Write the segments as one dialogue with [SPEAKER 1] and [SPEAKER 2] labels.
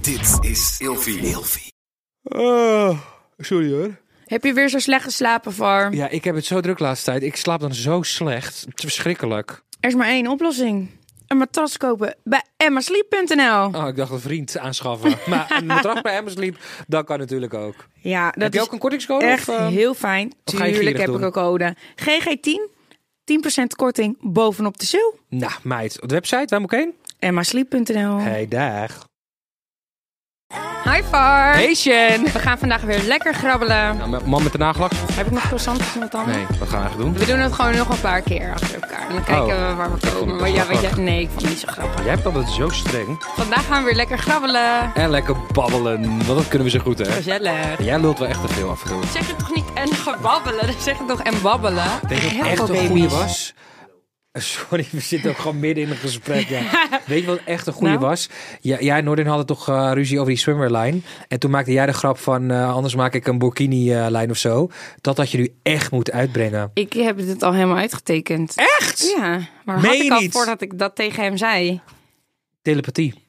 [SPEAKER 1] Dit is Ilfie.
[SPEAKER 2] Oh,
[SPEAKER 3] Ah, sorry hoor.
[SPEAKER 2] Heb je weer zo slecht geslapen, Farm?
[SPEAKER 3] Ja, ik heb het zo druk de laatste tijd. Ik slaap dan zo slecht. Het is verschrikkelijk.
[SPEAKER 2] Er is maar één oplossing. Een matras kopen bij emmasleep.nl.
[SPEAKER 3] Oh, ik dacht een vriend aanschaffen. maar een matras bij Amazon liep, dat kan natuurlijk ook.
[SPEAKER 2] Ja, dat
[SPEAKER 3] heb je
[SPEAKER 2] is
[SPEAKER 3] ook een kortingscode?
[SPEAKER 2] echt
[SPEAKER 3] of, eh,
[SPEAKER 2] heel fijn.
[SPEAKER 3] ga je
[SPEAKER 2] Tuurlijk
[SPEAKER 3] gierig
[SPEAKER 2] heb
[SPEAKER 3] doen?
[SPEAKER 2] ik een code. GG10, 10% korting bovenop de sale.
[SPEAKER 3] Nou, meid. Op de website, waar moet ik heen?
[SPEAKER 2] emmasleep.nl.
[SPEAKER 3] Hey, dag.
[SPEAKER 2] Hi, Farm.
[SPEAKER 3] Hey, Sjen.
[SPEAKER 2] We gaan vandaag weer lekker grabbelen.
[SPEAKER 3] Nou, mijn man met de nagelak?
[SPEAKER 2] Heb ik nog croissantjes met tanden?
[SPEAKER 3] Nee, wat gaan we eigenlijk doen?
[SPEAKER 2] We doen het gewoon nog een paar keer achter elkaar. En dan kijken
[SPEAKER 3] Oh.
[SPEAKER 2] we waar
[SPEAKER 3] Ik
[SPEAKER 2] we
[SPEAKER 3] vond
[SPEAKER 2] komen.
[SPEAKER 3] het
[SPEAKER 2] Maar ja,
[SPEAKER 3] best wel
[SPEAKER 2] weet je, nee, ik vond het niet zo grappig.
[SPEAKER 3] Jij hebt altijd zo streng.
[SPEAKER 2] Vandaag gaan we weer lekker grabbelen.
[SPEAKER 3] En lekker babbelen, want dat kunnen we zo goed, hè?
[SPEAKER 2] Gezellig.
[SPEAKER 3] Jij lult wel echt te veel af en toe.
[SPEAKER 2] Zeg het toch niet en gebabbelen? Zeg het toch en babbelen?
[SPEAKER 3] Weet je wat echt een goede was? Eh, Sorry, we zitten ook gewoon midden in een gesprek. Ja. Weet je wat echt een goede
[SPEAKER 2] Nou?
[SPEAKER 3] was? Ja, jij en Noordin hadden toch eh, ruzie over die swimmerlijn. En toen maakte jij de grap van, eh, anders maak ik een burkini-lijn of zo. Dat had je nu echt moeten uitbrengen.
[SPEAKER 2] Ik heb dit al helemaal uitgetekend. Echt? Ja, maar had
[SPEAKER 3] Meen
[SPEAKER 2] ik
[SPEAKER 3] je
[SPEAKER 2] al
[SPEAKER 3] niet?
[SPEAKER 2] voordat ik dat tegen hem zei.
[SPEAKER 3] Telepathie.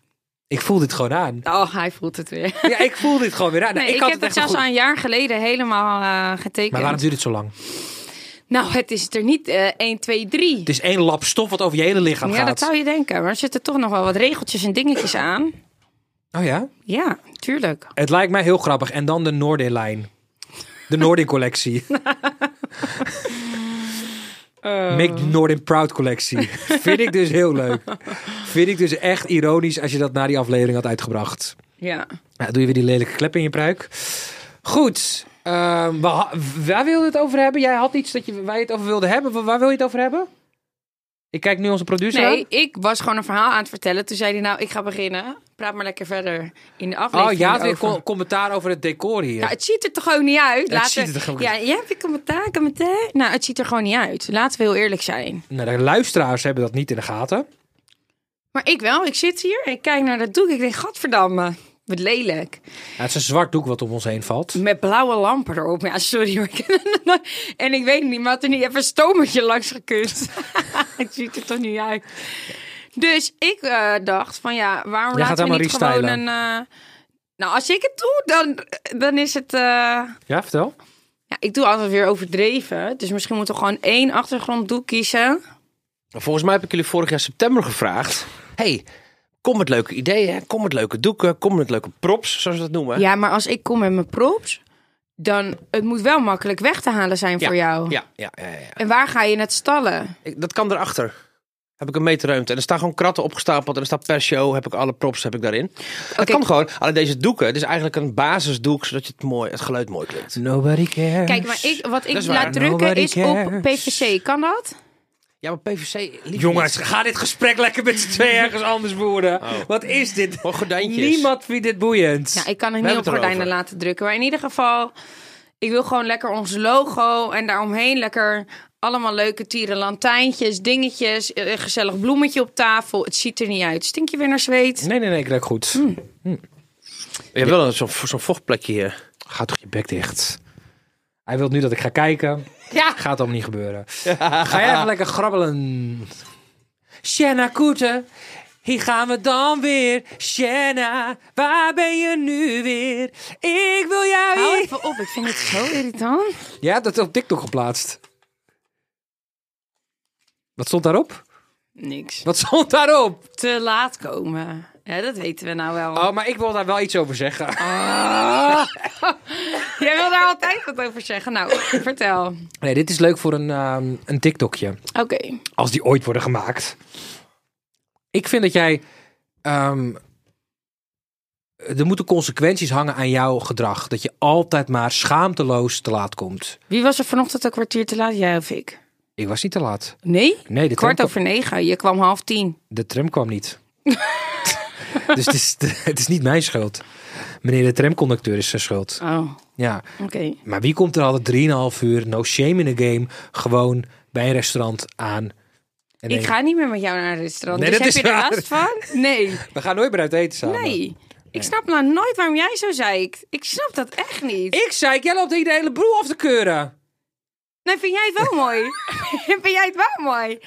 [SPEAKER 3] Ik voel dit gewoon aan.
[SPEAKER 2] Oh, hij voelt het weer.
[SPEAKER 3] Ja, ik voel dit gewoon weer aan. Nou,
[SPEAKER 2] Nee, ik,
[SPEAKER 3] had
[SPEAKER 2] heb het
[SPEAKER 3] echt
[SPEAKER 2] zelfs
[SPEAKER 3] een
[SPEAKER 2] al
[SPEAKER 3] goed-
[SPEAKER 2] een jaar geleden helemaal eh, getekend.
[SPEAKER 3] Maar waarom duurt het zo lang?
[SPEAKER 2] Nou, het is er niet eh 1, 2, 3.
[SPEAKER 3] Het is één lap stof wat over je hele lichaam
[SPEAKER 2] Ja,
[SPEAKER 3] gaat.
[SPEAKER 2] dat zou je denken. Maar er zitten toch nog wel wat regeltjes en dingetjes aan.
[SPEAKER 3] Oh ja?
[SPEAKER 2] Ja, tuurlijk.
[SPEAKER 3] Het lijkt mij heel grappig. En dan de Noordin-lijn. De Noordin-collectie.
[SPEAKER 2] Eh,
[SPEAKER 3] Make the Noordin Proud collectie. Vind ik dus heel leuk. Vind ik dus echt ironisch als je dat na die aflevering had uitgebracht.
[SPEAKER 2] Ja.
[SPEAKER 3] Nou, doe je weer die lelijke klep in je pruik. Goed. ehm, we ha- waar wilden we het over hebben? Jij had iets dat je, wij het over wilden hebben. Wa- Waar wil je het over hebben? Ik kijk nu onze producer
[SPEAKER 2] Nee,
[SPEAKER 3] aan.
[SPEAKER 2] ik was gewoon een verhaal aan het vertellen. Toen zei hij, nou, ik ga beginnen. Praat maar lekker verder in de aflevering.
[SPEAKER 3] Oh, ja, had weer
[SPEAKER 2] erover.
[SPEAKER 3] co- commentaar over het decor hier.
[SPEAKER 2] Ja, Nou, het ziet er toch gewoon niet uit. Laten
[SPEAKER 3] ziet er gewoon niet
[SPEAKER 2] ja, ja, heb je commentaar, commentaar? Nou, het ziet er gewoon niet uit. Laten we heel eerlijk zijn.
[SPEAKER 3] Nou, de luisteraars hebben dat niet in de gaten.
[SPEAKER 2] Maar ik wel. Ik zit hier en ik kijk naar dat doek. Ik denk, gadverdamme. Wat lelijk.
[SPEAKER 3] Ja, het is een zwart doek wat om ons heen valt.
[SPEAKER 2] Met blauwe lampen erop. Ja, sorry hoor. en ik weet het niet, maar had er niet even een stomertje langs gekust. het ziet er toch niet uit. Dus ik eh, dacht van ja, waarom
[SPEAKER 3] Jij gaat
[SPEAKER 2] laten we
[SPEAKER 3] helemaal
[SPEAKER 2] niet gewoon een...
[SPEAKER 3] restylen.
[SPEAKER 2] eh, Nou, als ik het doe, dan, dan is het... eh,
[SPEAKER 3] Ja, vertel.
[SPEAKER 2] Ja, ik doe altijd weer overdreven. Dus misschien moeten we gewoon één achtergronddoek kiezen.
[SPEAKER 4] Volgens mij heb ik jullie vorig jaar september gevraagd. hey, kom met leuke ideeën, kom met leuke doeken, kom met leuke props, zoals we dat noemen.
[SPEAKER 2] Ja, maar als ik kom met mijn props, dan het moet wel makkelijk weg te halen zijn voor jou.
[SPEAKER 4] Ja, ja, ja, ja, ja.
[SPEAKER 2] En waar ga je het stallen?
[SPEAKER 4] Ik- dat kan erachter. Heb ik een meter ruimte. En er staan gewoon kratten opgestapeld. En er staat per show, heb ik alle props heb ik daarin. Het kan gewoon. Alleen deze doeken, het is eigenlijk een basisdoek, zodat je het, mooi, het geluid mooi klinkt.
[SPEAKER 3] Nobody cares.
[SPEAKER 2] Kijk, maar ik, wat ik
[SPEAKER 4] is waar.
[SPEAKER 2] laat drukken
[SPEAKER 3] Nobody
[SPEAKER 2] is op
[SPEAKER 3] cares.
[SPEAKER 2] PVC. Kan dat?
[SPEAKER 4] Ja, maar PVC... lief
[SPEAKER 3] Jongens,
[SPEAKER 4] niet.
[SPEAKER 3] ga dit gesprek lekker met z'n tweeën ergens anders voeren. Wat is dit?
[SPEAKER 4] Gewoon gordijntjes.
[SPEAKER 3] Niemand vindt dit boeiend.
[SPEAKER 2] Nou, ik kan het
[SPEAKER 4] We
[SPEAKER 2] niet op
[SPEAKER 4] hebben het
[SPEAKER 2] gordijnen
[SPEAKER 4] erover.
[SPEAKER 2] laten drukken. Maar in ieder geval, ik wil gewoon lekker ons logo en daaromheen lekker allemaal leuke tieren, lantijntjes, dingetjes, eh, een gezellig bloemetje op tafel. Het ziet er niet uit. Stink je weer naar zweet?
[SPEAKER 3] Nee, nee, nee, ik ruik goed.
[SPEAKER 2] Mm.
[SPEAKER 4] Je hebt wel een- zo'n zo'n vochtplekje hier.
[SPEAKER 3] Ga toch je bek dicht. Hij wil nu dat ik ga kijken.
[SPEAKER 2] Ja.
[SPEAKER 3] Gaat allemaal niet gebeuren. Ga jij even lekker grabbelen. Shanna Koeten, hier gaan we dan weer. Shanna, waar ben je nu weer? Ik wil jou
[SPEAKER 2] Hou
[SPEAKER 3] hier...
[SPEAKER 2] even op, ik vind het zo irritant.
[SPEAKER 3] Ja, dat is op TikTok geplaatst. Wat stond daarop?
[SPEAKER 2] Niks.
[SPEAKER 3] Wat stond daarop?
[SPEAKER 2] Te laat komen. Ja, dat weten we nou wel.
[SPEAKER 3] Oh, maar ik wil daar wel iets over zeggen.
[SPEAKER 2] Jij wil daar altijd wat over zeggen. Nou, vertel. Oké.
[SPEAKER 3] Nee, dit is leuk voor een, ehm, een TikTokje. Als die ooit worden gemaakt. Ik vind dat jij... ehm, er moeten consequenties hangen aan jouw gedrag. Dat je altijd maar schaamteloos te laat komt.
[SPEAKER 2] Wie was er vanochtend een kwartier te laat? Jij of ik?
[SPEAKER 3] Ik was niet te laat.
[SPEAKER 2] Nee?
[SPEAKER 3] Nee, de tram,
[SPEAKER 2] Kwart
[SPEAKER 3] kwam,
[SPEAKER 2] over negen. Je kwam half tien.
[SPEAKER 3] de tram kwam niet. dus het is, het is niet mijn schuld. Meneer de tramconducteur is zijn schuld.
[SPEAKER 2] Oh,
[SPEAKER 3] Ja.
[SPEAKER 2] oké.
[SPEAKER 3] Maar wie komt er altijd 3,5 uur, no shame in the game, gewoon bij een restaurant aan? En
[SPEAKER 2] Ik
[SPEAKER 3] denkt,
[SPEAKER 2] ga niet meer met jou naar een restaurant.
[SPEAKER 3] Nee,
[SPEAKER 2] dus
[SPEAKER 3] dat
[SPEAKER 2] heb
[SPEAKER 3] is
[SPEAKER 2] je er
[SPEAKER 3] waar.
[SPEAKER 2] last van? Nee.
[SPEAKER 3] We gaan nooit meer uit eten samen.
[SPEAKER 2] Nee. Ik snap nou nooit waarom jij zo zeikt. Ik snap dat echt niet.
[SPEAKER 3] Ik zei, jij loopt hier de hele broer af te keuren.
[SPEAKER 2] Nee, vind jij het wel mooi? vind jij het wel mooi?
[SPEAKER 3] Nee,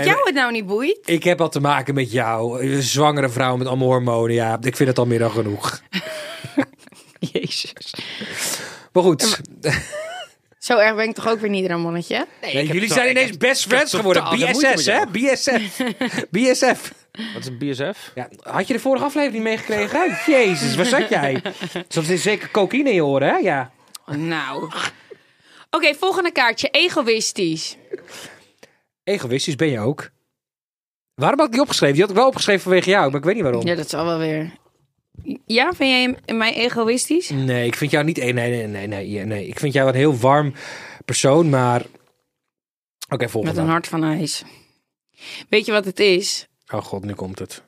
[SPEAKER 2] dat jou het nou niet boeit?
[SPEAKER 3] Ik heb al te maken met jou. Een zwangere vrouw met allemaal hormonen. Ja, ik vind het al meer dan genoeg.
[SPEAKER 2] Jezus.
[SPEAKER 3] Maar goed,
[SPEAKER 2] Zo erg ben ik toch ook weer niet, Ramonnetje?
[SPEAKER 3] nee,
[SPEAKER 4] heb
[SPEAKER 3] jullie
[SPEAKER 4] to-
[SPEAKER 3] zijn
[SPEAKER 4] ik
[SPEAKER 3] ineens
[SPEAKER 4] heb-
[SPEAKER 3] best
[SPEAKER 4] heb
[SPEAKER 3] friends geworden.
[SPEAKER 4] totaal geen moeite
[SPEAKER 3] BSS, hè? BSF. BSF.
[SPEAKER 4] Wat is een BSF?
[SPEAKER 3] Ja, had je de vorige aflevering niet meegekregen? hè? Jezus, waar zat jij? Soms is zeker cocaïne in je oren, hè? Ja.
[SPEAKER 2] Nou. Oké, volgende kaartje. Egoïstisch.
[SPEAKER 3] Egoïstisch ben je ook. Waarom had ik die opgeschreven? Die had ik wel opgeschreven vanwege jou, maar ik weet niet waarom.
[SPEAKER 2] Ja, dat zal wel weer. Ja, vind jij hem- mij egoïstisch?
[SPEAKER 3] Nee, ik vind jou niet... Nee, nee, nee, nee, nee, ja, nee. Ik vind jou een heel warm persoon, maar... Oké,
[SPEAKER 2] Met
[SPEAKER 3] volgende.
[SPEAKER 2] een hart van ijs. Weet je wat het is?
[SPEAKER 3] Oh god, nu komt het.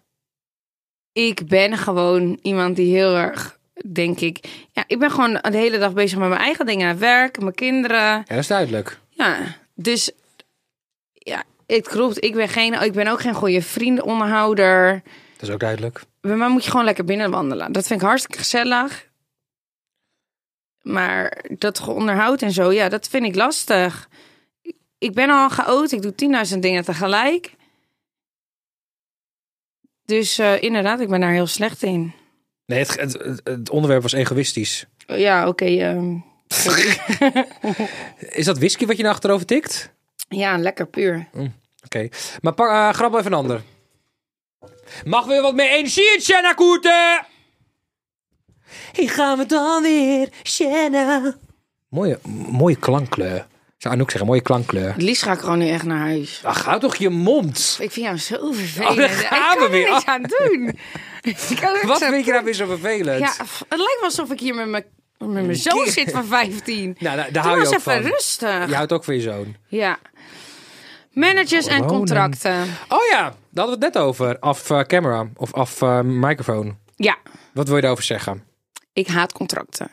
[SPEAKER 2] Ik ben gewoon iemand die heel erg, denk ik... Ja, ik ben gewoon de hele dag bezig met mijn eigen dingen. Het Werk, mijn kinderen.
[SPEAKER 3] Ja, dat is duidelijk.
[SPEAKER 2] Ja, dus... Ja, het klopt. Ik ben, geen, ik ben ook geen goede vriendenonderhouder.
[SPEAKER 3] Dat is ook duidelijk.
[SPEAKER 2] Bij mij moet je gewoon lekker binnen wandelen. Dat vind ik hartstikke gezellig. Maar dat onderhoud en zo, ja, dat vind ik lastig. Ik- Ik ben al een chaot. Ik doe 10.000 dingen tegelijk. Dus eh, inderdaad, ik ben daar heel slecht in.
[SPEAKER 3] Nee, het, het, het- het onderwerp was egoïstisch.
[SPEAKER 2] Ja, oké. ehm,
[SPEAKER 3] Is dat whisky wat je naar achterover tikt?
[SPEAKER 2] ja, lekker puur.
[SPEAKER 3] Oké. Maar pak, eh, grap wel even een ander. Mag weer wat meer energie in Shanna Koeten? Hier gaan we dan weer, Shanna. Mooie, m- mooie klankkleur. Zou Anouk zeggen, mooie klankkleur.
[SPEAKER 2] Het liefst ga ik gewoon nu echt naar huis.
[SPEAKER 3] Ach, hou toch je mond.
[SPEAKER 2] Ik vind jou zo vervelend.
[SPEAKER 3] Oh, daar gaan
[SPEAKER 2] ik kan
[SPEAKER 3] we
[SPEAKER 2] er
[SPEAKER 3] weer.
[SPEAKER 2] niks aan doen. Ik kan er niks
[SPEAKER 3] Wat
[SPEAKER 2] aan-
[SPEAKER 3] vind je nou weer zo vervelend?
[SPEAKER 2] Ja, f- het lijkt wel alsof ik hier met mijn, met mijn zoon zit van 15.
[SPEAKER 3] Nou, daar, daar
[SPEAKER 2] Doe
[SPEAKER 3] hou je
[SPEAKER 2] eens
[SPEAKER 3] ook
[SPEAKER 2] even
[SPEAKER 3] van.
[SPEAKER 2] rustig.
[SPEAKER 3] Je
[SPEAKER 2] Ja.
[SPEAKER 3] houdt ook van je zoon.
[SPEAKER 2] Managers en
[SPEAKER 3] Gewoon,
[SPEAKER 2] contracten.
[SPEAKER 3] Oh ja, daar hadden we het net over. Af eh, camera of af eh, microfoon.
[SPEAKER 2] Ja,
[SPEAKER 3] Wat wil je daarover zeggen?
[SPEAKER 2] ik haat contracten.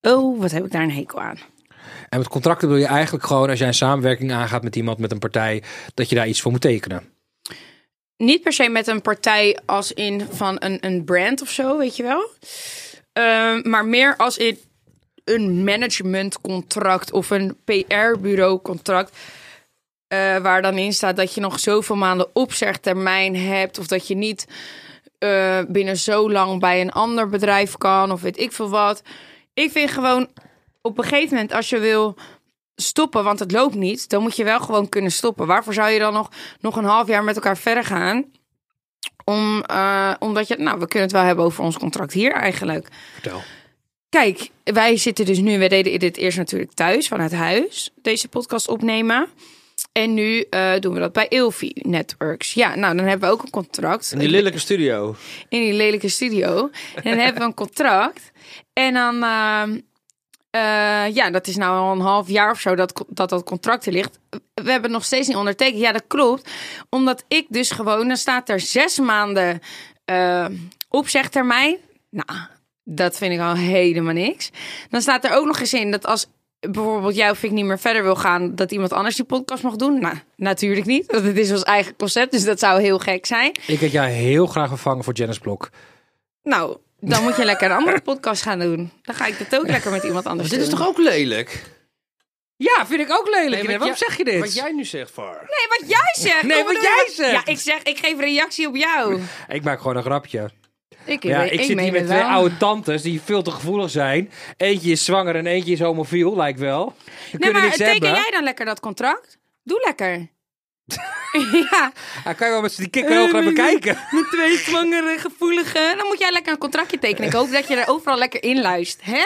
[SPEAKER 2] Oh, wat heb ik daar een hekel aan.
[SPEAKER 3] En met contracten bedoel je eigenlijk gewoon als jij een samenwerking aangaat met iemand, met een partij, dat je daar iets voor moet tekenen.
[SPEAKER 2] Niet per se met een partij als in van een, een brand of zo, weet je wel. Ehm, maar meer als in een managementcontract of een PR-bureau contract. eh, waar dan in staat dat je nog zoveel maanden opzegtermijn hebt. Of dat je niet eh, binnen zo lang bij een ander bedrijf kan. Of weet ik veel wat. Ik vind gewoon op een gegeven moment als je wil stoppen, want het loopt niet. Dan moet je wel gewoon kunnen stoppen. Waarvoor zou je dan nog, nog een half jaar met elkaar verder gaan? Om, eh, omdat je, nou, we kunnen het wel hebben over ons contract hier eigenlijk.
[SPEAKER 3] Vertel.
[SPEAKER 2] Kijk, wij zitten dus nu, wij deden dit eerst natuurlijk thuis vanuit huis, deze podcast opnemen. En nu eh, doen we dat bij Ilfi Networks. Ja, nou, dan hebben we ook een contract.
[SPEAKER 4] In die lelijke studio.
[SPEAKER 2] in die lelijke studio. En dan hebben we een contract. En dan, ehm, eh, ja, dat is nou al een half jaar of zo dat co- dat, dat contract er ligt. We hebben het nog steeds niet ondertekend. Ja, dat klopt. Omdat ik dus gewoon, dan staat er zes maanden ehm, opzegtermijn. Nou, dat vind ik al helemaal niks. Dan staat er ook nog eens in dat als bijvoorbeeld jou of ik niet meer verder wil gaan, dat iemand anders die podcast mag doen. Nou, natuurlijk niet. Want het is ons eigen concept, dus dat zou heel gek zijn.
[SPEAKER 3] Ik had jou heel graag vervangen voor Janice Blok.
[SPEAKER 2] Nou, dan moet je lekker een andere podcast gaan doen. Dan ga ik dat ook lekker met iemand anders
[SPEAKER 4] Dit is
[SPEAKER 2] doen.
[SPEAKER 4] toch ook lelijk?
[SPEAKER 3] Ja, vind ik ook lelijk.
[SPEAKER 4] Nee, wat
[SPEAKER 3] Waarom
[SPEAKER 4] jij-
[SPEAKER 3] zeg je dit?
[SPEAKER 4] Wat jij nu zegt, Var.
[SPEAKER 2] Nee, wat jij zegt.
[SPEAKER 3] Nee,
[SPEAKER 2] Wat
[SPEAKER 3] wat
[SPEAKER 2] bedoel je?
[SPEAKER 3] jij zegt.
[SPEAKER 2] Ja, ik zeg, ik geef reactie op jou.
[SPEAKER 3] Ik maak gewoon een grapje.
[SPEAKER 2] Ik,
[SPEAKER 3] Ja,
[SPEAKER 2] weet-
[SPEAKER 3] ik, zit
[SPEAKER 2] meen
[SPEAKER 3] hier met
[SPEAKER 2] het
[SPEAKER 3] twee
[SPEAKER 2] wel.
[SPEAKER 3] oude tantes die veel te gevoelig zijn. Eentje is zwanger en eentje is homofiel, lijkt wel. We
[SPEAKER 2] Nee,
[SPEAKER 3] kunnen
[SPEAKER 2] maar
[SPEAKER 3] niks
[SPEAKER 2] teken
[SPEAKER 3] hebben.
[SPEAKER 2] jij dan lekker dat contract? Doe lekker. ja,
[SPEAKER 3] Ja, kan je wel met z'n- die kikker ook gaan bekijken.
[SPEAKER 2] met twee zwangere gevoeligen. Dan moet jij lekker een contractje tekenen. Ik hoop dat je er overal lekker in luistert. Hè?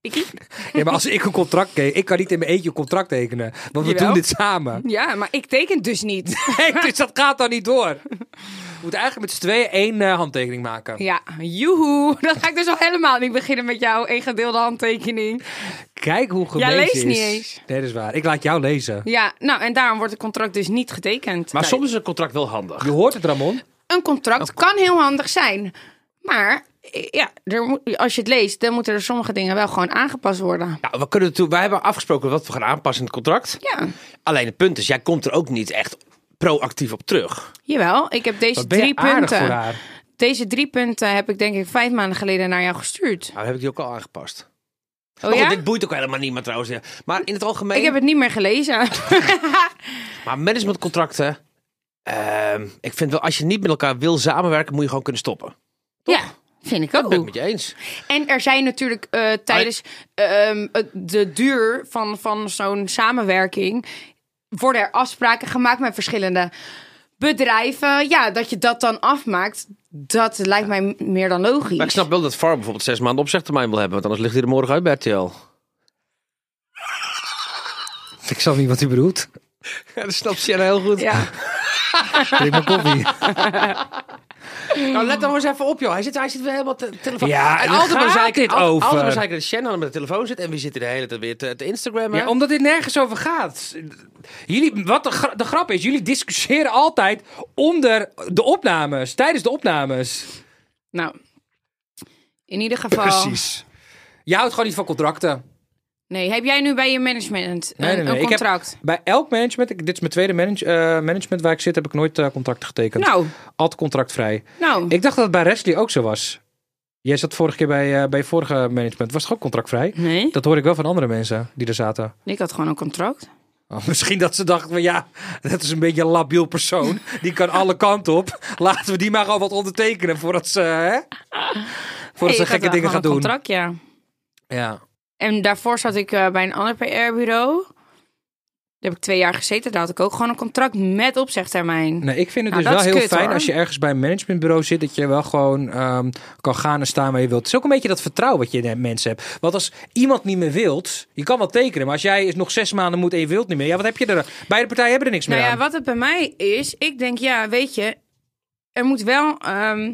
[SPEAKER 2] Ikkie?
[SPEAKER 3] Ja, maar als ik een contract teken, ik kan niet in mijn eentje een contract tekenen. Want we
[SPEAKER 2] Jawel.
[SPEAKER 3] doen dit samen.
[SPEAKER 2] Ja, maar ik teken dus niet.
[SPEAKER 3] Nee, dus dat gaat dan niet door. We moeten eigenlijk met z'n tweeën één eh, handtekening maken.
[SPEAKER 2] Ja, joehoe. Dan ga ik dus al helemaal niet beginnen met jouw ingedeelde handtekening.
[SPEAKER 3] Kijk hoe gemeen
[SPEAKER 2] Jij
[SPEAKER 3] ze
[SPEAKER 2] leest
[SPEAKER 3] is.
[SPEAKER 2] niet eens.
[SPEAKER 3] Nee, dat is waar. Ik laat jou lezen.
[SPEAKER 2] Ja, nou en daarom wordt het contract dus niet getekend.
[SPEAKER 4] Maar soms is een contract wel handig.
[SPEAKER 3] Je hoort het, Ramon.
[SPEAKER 2] Een contract kan heel handig zijn. Maar eh, ja, er moet, als je het leest, dan moeten er sommige dingen wel gewoon aangepast worden.
[SPEAKER 4] Nou, we kunnen toe, wij hebben afgesproken wat we gaan aanpassen in het contract.
[SPEAKER 2] Ja,
[SPEAKER 4] Alleen het punt is, jij komt er ook niet echt proactief op terug.
[SPEAKER 2] jawel. Ik heb deze
[SPEAKER 3] Wat ben je
[SPEAKER 2] drie
[SPEAKER 3] aardig voor
[SPEAKER 2] punten.
[SPEAKER 3] haar.
[SPEAKER 2] Deze drie punten heb ik denk ik vijf maanden geleden naar jou gestuurd.
[SPEAKER 4] Nou, heb ik die ook al aangepast.
[SPEAKER 2] Oh
[SPEAKER 4] Maar
[SPEAKER 2] ja?
[SPEAKER 4] goed, dit boeit ook helemaal niemand trouwens. ja. Maar in het algemeen,
[SPEAKER 2] Ik heb het niet meer gelezen.
[SPEAKER 4] maar managementcontracten. ehm, ik vind wel, als je niet met elkaar wil samenwerken, moet je gewoon kunnen stoppen.
[SPEAKER 2] ja, vind ik
[SPEAKER 4] Dat ben ik
[SPEAKER 2] ook.
[SPEAKER 4] met je eens.
[SPEAKER 2] En er zijn natuurlijk eh, tijdens ehm, het- de duur van, van zo'n samenwerking... worden er afspraken gemaakt met verschillende bedrijven. Ja, dat je dat dan afmaakt, dat lijkt mij m- meer dan logisch.
[SPEAKER 4] Maar ik snap wel dat Farm bijvoorbeeld zes maanden opzegtermijn wil hebben. Want anders ligt hij er morgen uit bij RTL.
[SPEAKER 3] Ik snap niet wat u bedoelt.
[SPEAKER 4] Ja, dat snapt Sierra heel goed.
[SPEAKER 2] Ja.
[SPEAKER 3] Drink maar koffie.
[SPEAKER 4] Nou, let dan eens even op, joh. Hij zit, hij zit weer helemaal te telefoon.
[SPEAKER 3] Ja,
[SPEAKER 4] en
[SPEAKER 3] daar gaat
[SPEAKER 4] zei ik
[SPEAKER 3] dit
[SPEAKER 4] altijd-
[SPEAKER 3] over.
[SPEAKER 4] Altijd maar zei ik dat Shannon met de telefoon zit. En wie zit er de hele tijd weer te, te Instagrammen?
[SPEAKER 3] Ja, omdat dit nergens over gaat. Jullie, wat de, gra- de grap is, jullie discussiëren altijd onder de opnames, tijdens de opnames.
[SPEAKER 2] Nou, in ieder geval...
[SPEAKER 3] Je houdt gewoon niet van contracten.
[SPEAKER 2] Nee, heb jij nu bij je management een, een
[SPEAKER 3] Ik heb
[SPEAKER 2] contract?
[SPEAKER 3] bij elk management, ik- dit is mijn tweede manage- eh, management waar ik zit, heb ik nooit eh, contracten getekend.
[SPEAKER 2] Nou,
[SPEAKER 3] Altijd contractvrij.
[SPEAKER 2] nou.
[SPEAKER 3] Ik dacht dat het bij Wesley ook zo was. Jij zat vorige keer bij, eh bij je vorige management. Was het ook contractvrij?
[SPEAKER 2] Nee,
[SPEAKER 3] Dat hoor ik wel van andere mensen die er zaten.
[SPEAKER 2] ik had gewoon een contract.
[SPEAKER 3] Oh, misschien dat ze dachten van ja, dat is een beetje een labiel persoon. Die kan alle kanten op. Laten we die maar gewoon wat ondertekenen voordat ze, hè, voordat
[SPEAKER 2] Nee,
[SPEAKER 3] ze
[SPEAKER 2] ik had
[SPEAKER 3] gekke dingen
[SPEAKER 2] wel gewoon
[SPEAKER 3] gaat
[SPEAKER 2] een
[SPEAKER 3] doen.
[SPEAKER 2] contract, ja.
[SPEAKER 3] Ja.
[SPEAKER 2] En daarvoor zat ik eh, bij een ander PR-bureau. Daar heb ik twee jaar gezeten. Daar had ik ook gewoon een contract met opzegtermijn.
[SPEAKER 3] Nee, ik vind het
[SPEAKER 2] Nou,
[SPEAKER 3] dus
[SPEAKER 2] dat
[SPEAKER 3] wel
[SPEAKER 2] is
[SPEAKER 3] heel
[SPEAKER 2] kut,
[SPEAKER 3] fijn
[SPEAKER 2] hoor.
[SPEAKER 3] als je ergens bij een managementbureau zit. Dat je wel gewoon ehm, kan gaan en staan waar je wilt. Het is ook een beetje dat vertrouwen wat je in mensen hebt. Want als iemand niet meer wilt, je kan wel tekenen. Maar als jij eens nog zes maanden moet en je wilt niet meer. Ja, wat heb je er? Beide partijen hebben er niks
[SPEAKER 2] nou
[SPEAKER 3] meer
[SPEAKER 2] ja,
[SPEAKER 3] aan.
[SPEAKER 2] wat het bij mij is, ik denk, ja, weet je, er moet wel, ehm,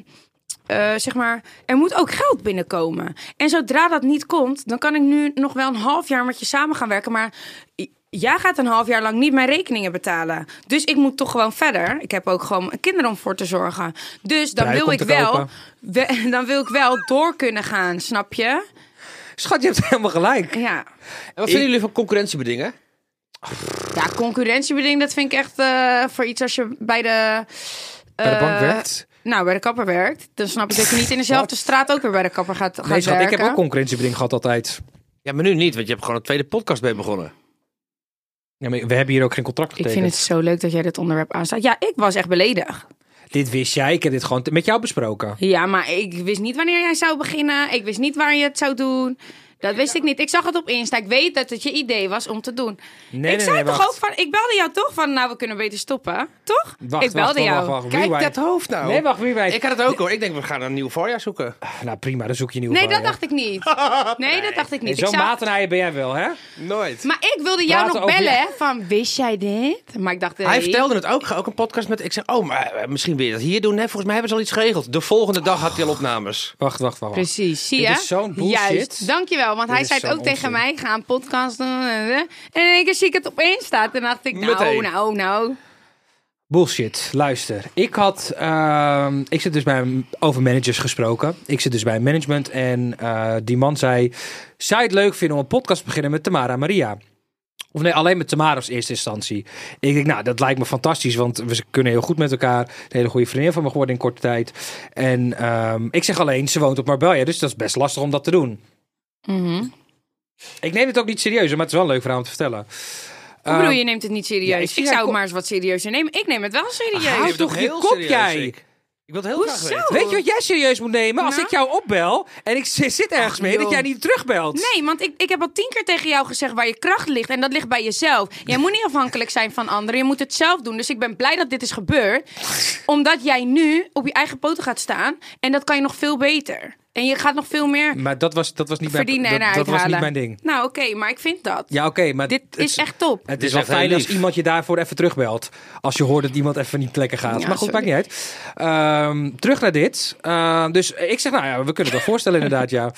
[SPEAKER 2] eh, zeg maar, er moet ook geld binnenkomen. En zodra dat niet komt, dan kan ik nu nog wel een half jaar met je samen gaan werken, maar j- jij gaat een half jaar lang niet mijn rekeningen betalen. Dus ik moet toch gewoon verder. Ik heb ook gewoon kinderen om voor te zorgen. Dus dan
[SPEAKER 3] Draai
[SPEAKER 2] wil
[SPEAKER 3] komt
[SPEAKER 2] ik
[SPEAKER 3] te
[SPEAKER 2] wel,
[SPEAKER 3] kopen.
[SPEAKER 2] we- dan wil ik wel door kunnen gaan, snap je?
[SPEAKER 3] Schat, je hebt helemaal gelijk.
[SPEAKER 2] Ja.
[SPEAKER 4] En wat vinden jullie van concurrentiebedingen?
[SPEAKER 2] Ja, concurrentiebeding, dat vind ik echt eh, voor iets als je bij de...
[SPEAKER 3] Bij de bank
[SPEAKER 2] eh,
[SPEAKER 3] werkt.
[SPEAKER 2] Nou, bij de kapper werkt. Dan snap ik dat je niet in dezelfde straat ook weer bij de kapper gaat, gaat
[SPEAKER 3] Nee, schat, ik
[SPEAKER 2] werken.
[SPEAKER 3] heb ook concurrentiebeding gehad altijd.
[SPEAKER 4] Ja, maar nu niet, want je hebt gewoon een tweede podcast mee begonnen.
[SPEAKER 3] Ja, maar we hebben hier ook geen contract
[SPEAKER 2] Ik
[SPEAKER 3] getekend.
[SPEAKER 2] vind het zo leuk dat jij dit onderwerp aanstaat. Ja, ik was echt beledigd.
[SPEAKER 3] Dit wist jij, ik heb dit gewoon t- met jou besproken.
[SPEAKER 2] Ja, maar ik wist niet wanneer jij zou beginnen. Ik wist niet waar je het zou doen. Dat wist ik niet. Ik zag het op Insta. Ik weet dat het je idee was om te doen.
[SPEAKER 3] Nee,
[SPEAKER 2] ik
[SPEAKER 3] nee,
[SPEAKER 2] zei
[SPEAKER 3] nee,
[SPEAKER 2] toch
[SPEAKER 3] wacht.
[SPEAKER 2] ook van... Ik belde jou toch van... Nou, we kunnen beter stoppen. Toch?
[SPEAKER 3] Wacht,
[SPEAKER 2] ik belde
[SPEAKER 3] wacht, wacht,
[SPEAKER 2] jou.
[SPEAKER 3] wacht, wacht.
[SPEAKER 4] Kijk
[SPEAKER 3] Rewind.
[SPEAKER 4] dat hoofd
[SPEAKER 2] Oh.
[SPEAKER 4] nou.
[SPEAKER 3] Nee, wacht, rewind.
[SPEAKER 4] Ik had het ook hoor. Ik denk, we gaan een nieuw voorjaar zoeken.
[SPEAKER 3] Nou prima, dan zoek je een nieuwe
[SPEAKER 2] Nee, dat
[SPEAKER 3] variant.
[SPEAKER 2] dacht ik niet. Nee, dat dacht ik niet.
[SPEAKER 3] Zo'n
[SPEAKER 2] ik zou-
[SPEAKER 3] matenaaier ben jij wel, hè?
[SPEAKER 4] Nooit.
[SPEAKER 2] Maar ik wilde jou
[SPEAKER 3] Praten
[SPEAKER 2] nog
[SPEAKER 3] over
[SPEAKER 2] bellen van... Wist jij dit? Maar ik dacht...
[SPEAKER 4] Hij
[SPEAKER 2] nee.
[SPEAKER 4] vertelde het ook. Ik ga ook een podcast met... Ik zeg, oh, maar eh, misschien wil je dat hier doen. Nee, volgens mij hebben ze al iets geregeld. De volgende dag had hij al opnames.
[SPEAKER 3] Wacht, wacht, wacht. wacht.
[SPEAKER 2] Precies, zie
[SPEAKER 3] Dit
[SPEAKER 2] je?
[SPEAKER 3] is zo'n bullshit.
[SPEAKER 2] Juist, dankjewel. Want hij
[SPEAKER 3] is
[SPEAKER 2] zei het
[SPEAKER 3] zo'n
[SPEAKER 2] ook tegen
[SPEAKER 3] onzin.
[SPEAKER 2] mij, ik ga een podcast doen. En eh, en in één keer zie ik het opeens staat. En dacht ik, nou,
[SPEAKER 4] Meteen.
[SPEAKER 2] nou, nou.
[SPEAKER 3] Bullshit, luister. Ik had, ehm, ik zit dus bij, een- over managers gesproken. Ik zit dus bij een management en eh, die man zei... Zou je het leuk vinden om een podcast te beginnen met Tamara en Maria? Of nee, alleen met Tamara als eerste instantie. Ik denk, nou, dat lijkt me fantastisch, want we kunnen heel goed met elkaar. Een hele goede vriendin van me geworden in korte tijd. En ehm, ik zeg alleen, ze woont op Marbella, dus dat is best lastig om dat te doen.
[SPEAKER 2] Mhm.
[SPEAKER 3] Ik neem het ook niet serieus, maar het is wel een leuk verhaal om te vertellen.
[SPEAKER 2] Ik bedoel, je neemt het niet serieus.
[SPEAKER 3] Ehm, ja, ik
[SPEAKER 2] ik,
[SPEAKER 3] zie
[SPEAKER 2] zou
[SPEAKER 3] jou-
[SPEAKER 2] het maar eens wat serieuzer nemen. Ik neem het wel serieus.
[SPEAKER 3] Hou
[SPEAKER 4] Houd
[SPEAKER 3] toch je kop, jij.
[SPEAKER 4] Ik wil het heel graag
[SPEAKER 2] Hoezo?
[SPEAKER 4] weten.
[SPEAKER 3] Weet je wat jij serieus moet nemen? Als
[SPEAKER 2] Nou?
[SPEAKER 3] ik jou opbel en ik zi- zit ergens mee, dat
[SPEAKER 2] joh.
[SPEAKER 3] jij niet terugbelt.
[SPEAKER 2] Nee, want ik, ik heb al tien keer tegen jou gezegd waar je kracht ligt. En dat ligt bij jezelf. Jij moet niet afhankelijk zijn van anderen. Je moet het zelf doen. Dus ik ben blij dat dit is gebeurd. Omdat jij nu op je eigen poten gaat staan. En dat kan je nog veel beter. En je gaat nog veel meer
[SPEAKER 3] Maar dat was, dat was niet mijn
[SPEAKER 2] verdienen
[SPEAKER 3] dat,
[SPEAKER 2] en
[SPEAKER 3] dat
[SPEAKER 2] uithalen.
[SPEAKER 3] was niet mijn ding.
[SPEAKER 2] Nou, oké, maar ik vind dat.
[SPEAKER 3] Ja, oké, maar
[SPEAKER 2] Dit
[SPEAKER 3] het
[SPEAKER 2] is echt top.
[SPEAKER 3] Het
[SPEAKER 4] Dit
[SPEAKER 3] is
[SPEAKER 4] is
[SPEAKER 3] wel
[SPEAKER 4] echt heel
[SPEAKER 3] fijn als
[SPEAKER 4] lief.
[SPEAKER 3] iemand je daarvoor even terugbelt. Als je hoort dat iemand even niet lekker gaat.
[SPEAKER 2] Ja,
[SPEAKER 3] maar goed,
[SPEAKER 2] sorry.
[SPEAKER 3] maakt niet uit. Ehm, terug naar dit. Ehm, dus ik zeg, nou ja, we kunnen het wel voorstellen inderdaad, ja.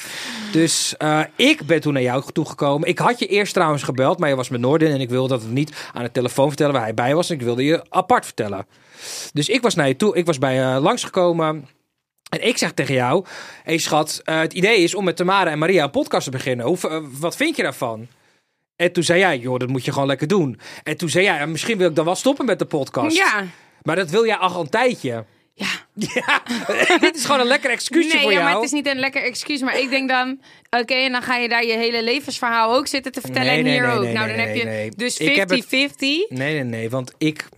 [SPEAKER 3] Dus eh, ik ben toen naar jou toegekomen. Ik had je eerst trouwens gebeld, maar je was met Noorden. En ik wilde dat het niet aan de telefoon vertellen waar hij bij was. En ik wilde je apart vertellen. Dus ik was naar je toe. Ik was bij je langsgekomen. En ik zeg tegen jou, hé hey schat, eh, het idee is om met Tamara en Maria een podcast te beginnen. Hoe, eh, wat vind je daarvan? En toen zei jij, joh, dat moet je gewoon lekker doen. En toen zei jij, "Ja, misschien wil ik dan wel stoppen met de podcast.
[SPEAKER 2] Ja.
[SPEAKER 3] Maar dat wil jij al een tijdje.
[SPEAKER 2] Ja.
[SPEAKER 3] Ja, dit is gewoon een lekker excuusje
[SPEAKER 2] nee,
[SPEAKER 3] voor
[SPEAKER 2] ja,
[SPEAKER 3] jou.
[SPEAKER 2] maar het is niet een lekker excuus. Maar ik denk dan, oké, en dan ga je daar je hele levensverhaal ook zitten te vertellen.
[SPEAKER 3] Nee,
[SPEAKER 2] en
[SPEAKER 3] nee,
[SPEAKER 2] hier
[SPEAKER 3] nee,
[SPEAKER 2] ook.
[SPEAKER 3] nee,
[SPEAKER 2] nou,
[SPEAKER 3] nee,
[SPEAKER 2] dan heb
[SPEAKER 3] nee,
[SPEAKER 2] je
[SPEAKER 3] nee.
[SPEAKER 2] dus 50-50.
[SPEAKER 3] Ik heb het- Nee, nee, nee, want ik...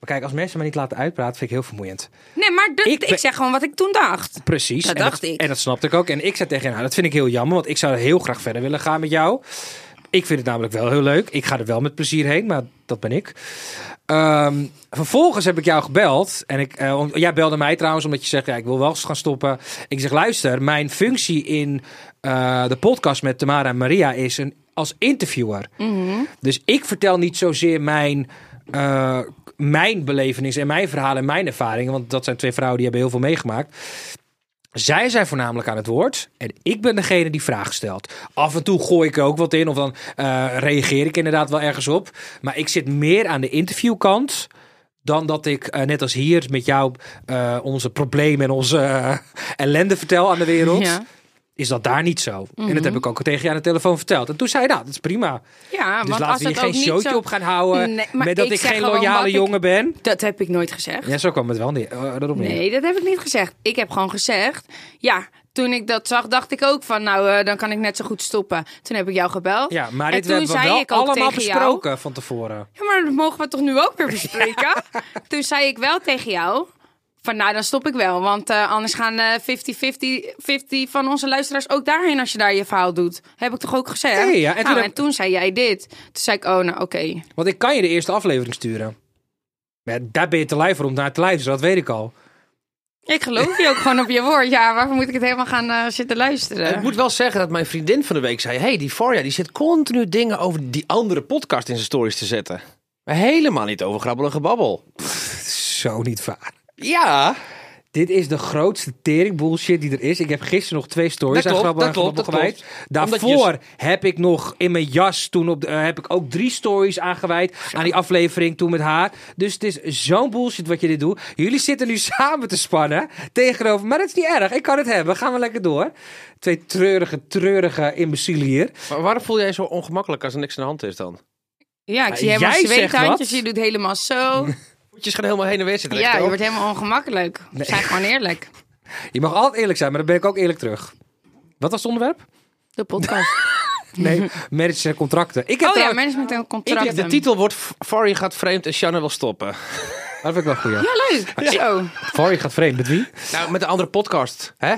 [SPEAKER 3] Maar kijk, als mensen me niet laten uitpraten, vind ik heel vermoeiend.
[SPEAKER 2] Nee, maar dat-
[SPEAKER 3] Ik
[SPEAKER 2] ik,
[SPEAKER 3] ben-
[SPEAKER 2] zeg gewoon wat ik toen dacht.
[SPEAKER 3] Precies.
[SPEAKER 2] Dat
[SPEAKER 3] en
[SPEAKER 2] dacht ik.
[SPEAKER 3] En dat snapte ik ook. En ik zei tegen haar, nou, dat vind ik heel jammer, want ik zou heel graag verder willen gaan met jou. Ik vind het namelijk wel heel leuk. Ik ga er wel met plezier heen, maar dat ben ik. Ehm, vervolgens heb ik jou gebeld. En ik, eh, om- jij belde mij trouwens, omdat je zegt, ja, ik wil wel eens gaan stoppen. Ik zeg, luister, mijn functie in eh, de podcast met Tamara en Maria is een, als interviewer. Dus ik vertel niet zozeer mijn, eh, mijn belevenis en mijn verhalen en mijn ervaringen. Want dat zijn twee vrouwen die hebben heel veel meegemaakt. Zij zijn voornamelijk aan het woord en ik ben degene die vragen stelt. Af en toe gooi ik er ook wat in of dan eh, reageer ik inderdaad wel ergens op. Maar ik zit meer aan de interviewkant dan dat ik, eh, net als hier met jou, eh, onze problemen en onze eh, ellende vertel aan de wereld.
[SPEAKER 2] Ja.
[SPEAKER 3] Is dat daar niet zo? En dat heb ik ook tegen je aan de telefoon verteld. En toen zei je, nou, dat is prima.
[SPEAKER 2] Ja,
[SPEAKER 3] Dus
[SPEAKER 2] want
[SPEAKER 3] laten
[SPEAKER 2] als
[SPEAKER 3] we hier
[SPEAKER 2] het
[SPEAKER 3] geen
[SPEAKER 2] ook niet
[SPEAKER 3] showtje
[SPEAKER 2] zo...
[SPEAKER 3] op gaan houden.
[SPEAKER 2] Nee, maar
[SPEAKER 3] met dat ik,
[SPEAKER 2] ik zeg
[SPEAKER 3] geen
[SPEAKER 2] gewoon wat
[SPEAKER 3] loyale
[SPEAKER 2] ik-
[SPEAKER 3] jongen ben.
[SPEAKER 2] Dat heb ik nooit gezegd.
[SPEAKER 3] Ja, zo kwam het wel niet. eh, erop neer.
[SPEAKER 2] Nee, dat heb ik niet gezegd. Ik heb gewoon gezegd, ja, toen ik dat zag, dacht ik ook van, nou, eh, dan kan ik net zo goed stoppen. Toen heb ik jou gebeld.
[SPEAKER 3] Ja, maar
[SPEAKER 2] En
[SPEAKER 3] dit
[SPEAKER 2] toen
[SPEAKER 3] hebben we
[SPEAKER 2] zei
[SPEAKER 3] wel
[SPEAKER 2] ik ook
[SPEAKER 3] allemaal
[SPEAKER 2] tegen jou-
[SPEAKER 3] besproken van tevoren.
[SPEAKER 2] Ja, maar dat mogen we toch nu ook weer bespreken? Toen zei ik wel tegen jou. Van nou, dan stop ik wel. Want eh, anders gaan eh, 50-50 50 van onze luisteraars ook daarheen als je daar je verhaal doet. Heb ik toch ook gezegd?
[SPEAKER 3] Nee, ja, en
[SPEAKER 2] en,
[SPEAKER 3] toen
[SPEAKER 2] toen
[SPEAKER 3] heb-
[SPEAKER 2] en toen zei jij dit. Toen zei ik, oh nou, oké.
[SPEAKER 3] Want ik kan je de eerste aflevering sturen. Maar daar ben je te lui voor om naar te luisteren, dat weet ik al.
[SPEAKER 2] Ik geloof je ook gewoon op je woord. Ja, waarvoor moet ik het helemaal gaan eh, zitten luisteren?
[SPEAKER 4] Ik moet wel zeggen dat mijn vriendin van de week zei... hey, die Faria die zit continu dingen over die andere podcast in zijn stories te zetten. Maar helemaal niet over grabbelige babbel.
[SPEAKER 3] Zo niet waar.
[SPEAKER 4] Ja,
[SPEAKER 3] Dit is de grootste tering bullshit die er is. Ik heb gisteren nog twee stories
[SPEAKER 4] Dat klopt,
[SPEAKER 3] aan Grabbel
[SPEAKER 4] dat klopt,
[SPEAKER 3] en Grabbel
[SPEAKER 4] dat
[SPEAKER 3] gewijd. Daarvoor heb ik nog in mijn jas toen op de, eh, heb ik ook drie stories aangewijd aan die aflevering toen met haar. Dus het is zo'n bullshit wat je dit doet. Jullie zitten nu samen te spannen tegenover, maar dat is niet erg. Ik kan het hebben. Gaan we lekker door. Twee treurige, treurige imbecielen hier.
[SPEAKER 4] maar waarom voel jij je zo ongemakkelijk als er niks aan de hand is dan?
[SPEAKER 2] Ja, ik zie
[SPEAKER 3] Ah, Jij
[SPEAKER 2] helemaal
[SPEAKER 3] zegt
[SPEAKER 2] zweethandjes.
[SPEAKER 3] wat?
[SPEAKER 2] Je doet helemaal zo.
[SPEAKER 4] Voetjes gaan helemaal heen en weer zitten.
[SPEAKER 2] ja, je
[SPEAKER 4] rechtop.
[SPEAKER 2] wordt helemaal ongemakkelijk. We Zijn gewoon eerlijk.
[SPEAKER 3] Je mag altijd eerlijk zijn, maar dan ben ik ook eerlijk terug. Wat was het onderwerp?
[SPEAKER 2] De podcast.
[SPEAKER 3] Nee, managers en contracten. Ik heb
[SPEAKER 2] oh ja,
[SPEAKER 3] trouwens-
[SPEAKER 2] management en
[SPEAKER 4] Ik
[SPEAKER 2] contracten.
[SPEAKER 4] heb de titel wordt F- Faria gaat vreemd en Shanna wil stoppen.
[SPEAKER 3] Dat vind ik wel goed.
[SPEAKER 2] Ja, leuk. Zo.
[SPEAKER 3] Voor je gaat vreemd met wie?
[SPEAKER 4] Nou, met de andere podcast, hè?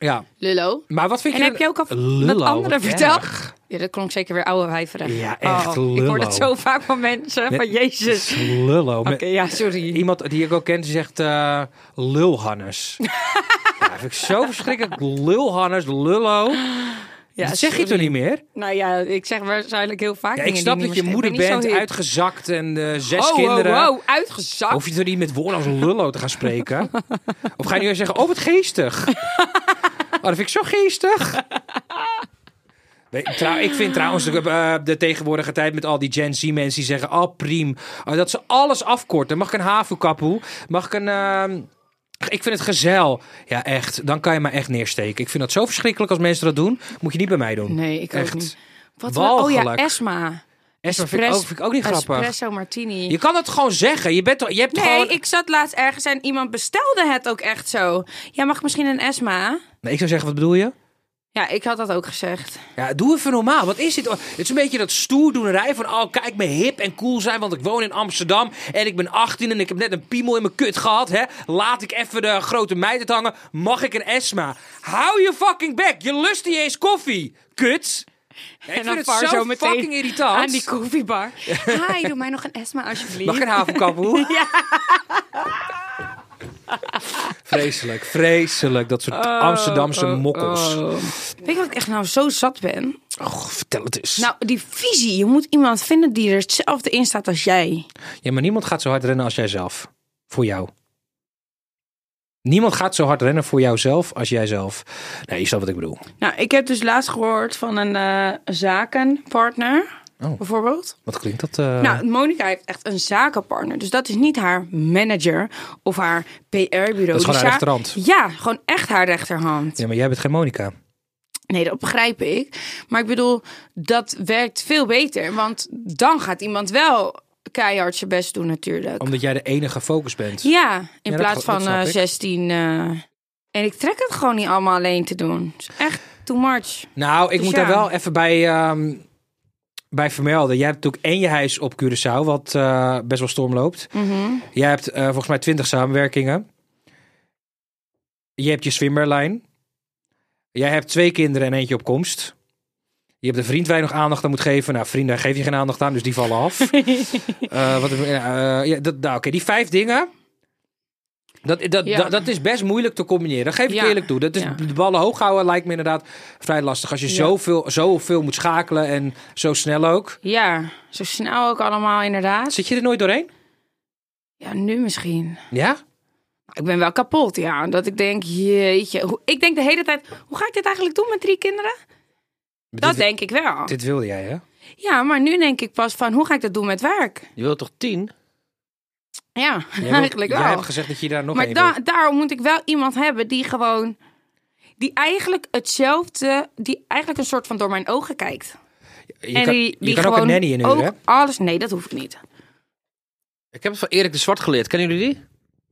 [SPEAKER 3] Ja,
[SPEAKER 2] Lullo.
[SPEAKER 3] maar wat vind
[SPEAKER 2] En
[SPEAKER 3] je...
[SPEAKER 2] heb je ook al
[SPEAKER 3] Lullo,
[SPEAKER 2] dat andere
[SPEAKER 3] wat
[SPEAKER 2] verteld?
[SPEAKER 3] erg.
[SPEAKER 2] Ja, dat klonk zeker weer oude wijverig.
[SPEAKER 3] Ja, echt
[SPEAKER 2] Ik
[SPEAKER 3] lullo.
[SPEAKER 2] hoor dat zo vaak van mensen. Van jezus. Oké,
[SPEAKER 3] Lullo. Met-
[SPEAKER 2] ja, sorry.
[SPEAKER 3] Iemand die ik ook ken, die zegt eh lulhannes. ja, vind ik zo verschrikkelijk. Lulhannes, lullo.
[SPEAKER 2] Ja,
[SPEAKER 3] dat zeg je
[SPEAKER 2] sorry.
[SPEAKER 3] toch niet meer?
[SPEAKER 2] Nou ja, ik zeg waarschijnlijk heel vaak
[SPEAKER 3] Ja, ik
[SPEAKER 2] dingen
[SPEAKER 3] snap
[SPEAKER 2] die
[SPEAKER 3] dat je
[SPEAKER 2] niet meer-
[SPEAKER 3] moeder
[SPEAKER 2] ik ben niet
[SPEAKER 3] bent,
[SPEAKER 2] zo heel-
[SPEAKER 3] uitgezakt en eh, zes
[SPEAKER 2] Oh,
[SPEAKER 3] kinderen.
[SPEAKER 2] Wow, wow, uitgezakt.
[SPEAKER 3] Hoef je toch niet met woorden als lullo te gaan spreken? of ga je nu weer zeggen, oh wat geestig. oh, dat vind ik zo geestig. Nee, trouw- ik vind trouwens de, eh, de tegenwoordige tijd met al die Gen Z mensen die zeggen, oh priem. Oh, dat ze alles afkorten. Mag ik een havenkapoe? Mag ik een... ehm, ik vind het gezel. Ja, echt. Dan kan je me echt neersteken. Ik vind dat zo verschrikkelijk als mensen dat doen. Moet je niet bij mij doen.
[SPEAKER 2] Nee, ik
[SPEAKER 3] Echt.
[SPEAKER 2] ook niet. Wat we- oh
[SPEAKER 3] Walgelijk.
[SPEAKER 2] ja, Esma.
[SPEAKER 3] Esma vind ik, ook, vind ik ook niet grappig.
[SPEAKER 2] Espresso martini.
[SPEAKER 3] Je kan dat gewoon zeggen. Je, bent, toch- je hebt
[SPEAKER 2] Nee,
[SPEAKER 3] gewoon...
[SPEAKER 2] ik zat laatst ergens en iemand bestelde het ook echt zo. Jij mag misschien een Esma.
[SPEAKER 3] Nee, ik zou zeggen, wat bedoel je?
[SPEAKER 2] Ja, ik had dat ook gezegd.
[SPEAKER 3] Ja, doe even normaal. Wat is dit? Het is een beetje dat stoerdoenerij van... oh, kijk me hip en cool zijn, want ik woon in Amsterdam... en ik ben 18 en ik heb net een piemel in mijn kut gehad. Hè? Laat ik even de grote meid het hangen. Mag ik een Esma? Hou je fucking bek. Je lust niet eens koffie. Kut. Ja, ik
[SPEAKER 2] En dan
[SPEAKER 3] vind
[SPEAKER 2] var
[SPEAKER 3] het zo
[SPEAKER 2] zo meteen
[SPEAKER 3] fucking irritant.
[SPEAKER 2] Aan die koffiebar. Hi, doe mij nog een Esma alsjeblieft.
[SPEAKER 3] Mag ik een havenkapoe? Vreselijk, vreselijk. Dat soort
[SPEAKER 2] Oh,
[SPEAKER 3] Amsterdamse mokkels.
[SPEAKER 2] Weet je wat ik echt nou zo zat ben?
[SPEAKER 3] Och, vertel het eens.
[SPEAKER 2] Nou, die visie. Je moet iemand vinden die er hetzelfde in staat als jij.
[SPEAKER 3] Ja, maar niemand gaat zo hard rennen als jijzelf. Voor jou. Niemand gaat zo hard rennen voor jouzelf als jijzelf. Nee, je snapt wat ik bedoel.
[SPEAKER 2] Nou, ik heb dus laatst gehoord van een eh, zakenpartner,
[SPEAKER 3] Oh.
[SPEAKER 2] bijvoorbeeld.
[SPEAKER 3] Wat klinkt dat? eh,
[SPEAKER 2] Nou, Monica heeft echt een zakenpartner. Dus dat is niet haar manager of haar PR-bureau.
[SPEAKER 3] dat is gewoon haar restaurant.
[SPEAKER 2] Ja, gewoon echt haar rechterhand.
[SPEAKER 3] Ja, maar jij bent geen Monica.
[SPEAKER 2] Nee, dat begrijp ik. Maar ik bedoel, dat werkt veel beter. Want dan gaat iemand wel keihard zijn best doen natuurlijk.
[SPEAKER 3] Omdat jij de enige focus bent.
[SPEAKER 2] Ja, in
[SPEAKER 3] Ja, dat
[SPEAKER 2] plaats
[SPEAKER 3] ge- dat
[SPEAKER 2] van
[SPEAKER 3] snap
[SPEAKER 2] eh,
[SPEAKER 3] ik.
[SPEAKER 2] 16. eh, en ik trek het gewoon niet allemaal alleen te doen. Het is echt too much.
[SPEAKER 3] Nou, ik
[SPEAKER 2] Dus
[SPEAKER 3] moet
[SPEAKER 2] ja.
[SPEAKER 3] daar wel even bij, ehm, bij vermelden. Jij hebt natuurlijk één je huis op Curaçao, wat eh, best wel storm loopt.
[SPEAKER 2] Mhm.
[SPEAKER 3] Jij hebt eh, volgens mij twintig samenwerkingen. Je hebt je swimmerlijn. Jij hebt twee kinderen en eentje op komst. Je hebt een vriend waar je nog aandacht aan moet geven. Nou, vrienden daar geef je geen aandacht aan, dus die vallen af. Eh, wat, eh, eh, ja, dat, nou, oké, die vijf dingen. Dat, dat,
[SPEAKER 2] Ja.
[SPEAKER 3] dat, dat is best moeilijk te combineren. Dat geef ik
[SPEAKER 2] Ja.
[SPEAKER 3] eerlijk toe. Dat is,
[SPEAKER 2] Ja.
[SPEAKER 3] De ballen hoog houden lijkt me inderdaad vrij lastig. Als je
[SPEAKER 2] Ja.
[SPEAKER 3] zoveel, zoveel moet schakelen en zo snel ook.
[SPEAKER 2] Ja, zo snel ook allemaal inderdaad.
[SPEAKER 3] Zit je er nooit doorheen?
[SPEAKER 2] Ja, nu misschien.
[SPEAKER 3] Ja?
[SPEAKER 2] Ik ben wel kapot, ja. Omdat ik denk, jeetje. hoe- Ik denk de hele tijd, hoe ga ik dit eigenlijk doen met drie kinderen? Dat
[SPEAKER 3] dit,
[SPEAKER 2] denk ik wel.
[SPEAKER 3] dit wilde jij, hè?
[SPEAKER 2] Ja, maar nu denk ik pas van, hoe ga ik dat doen met werk?
[SPEAKER 4] Je wilt toch tien?
[SPEAKER 2] Ja,
[SPEAKER 3] Jij wilt-
[SPEAKER 2] eigenlijk
[SPEAKER 3] Jij
[SPEAKER 2] wel.
[SPEAKER 3] hebt gezegd dat je daar nog
[SPEAKER 2] Maar
[SPEAKER 3] één
[SPEAKER 2] da-
[SPEAKER 3] wilt.
[SPEAKER 2] daarom moet ik wel iemand hebben die gewoon... Die eigenlijk hetzelfde, die eigenlijk een soort van door mijn ogen kijkt.
[SPEAKER 3] Je
[SPEAKER 2] en
[SPEAKER 3] kan,
[SPEAKER 2] die,
[SPEAKER 3] je
[SPEAKER 2] die
[SPEAKER 3] kan
[SPEAKER 2] gewoon
[SPEAKER 3] ook een nanny in
[SPEAKER 2] ook
[SPEAKER 3] huren, hè?
[SPEAKER 2] alles. Nee, dat hoeft niet.
[SPEAKER 4] Ik heb het van Erik de Zwart geleerd. Kennen jullie die?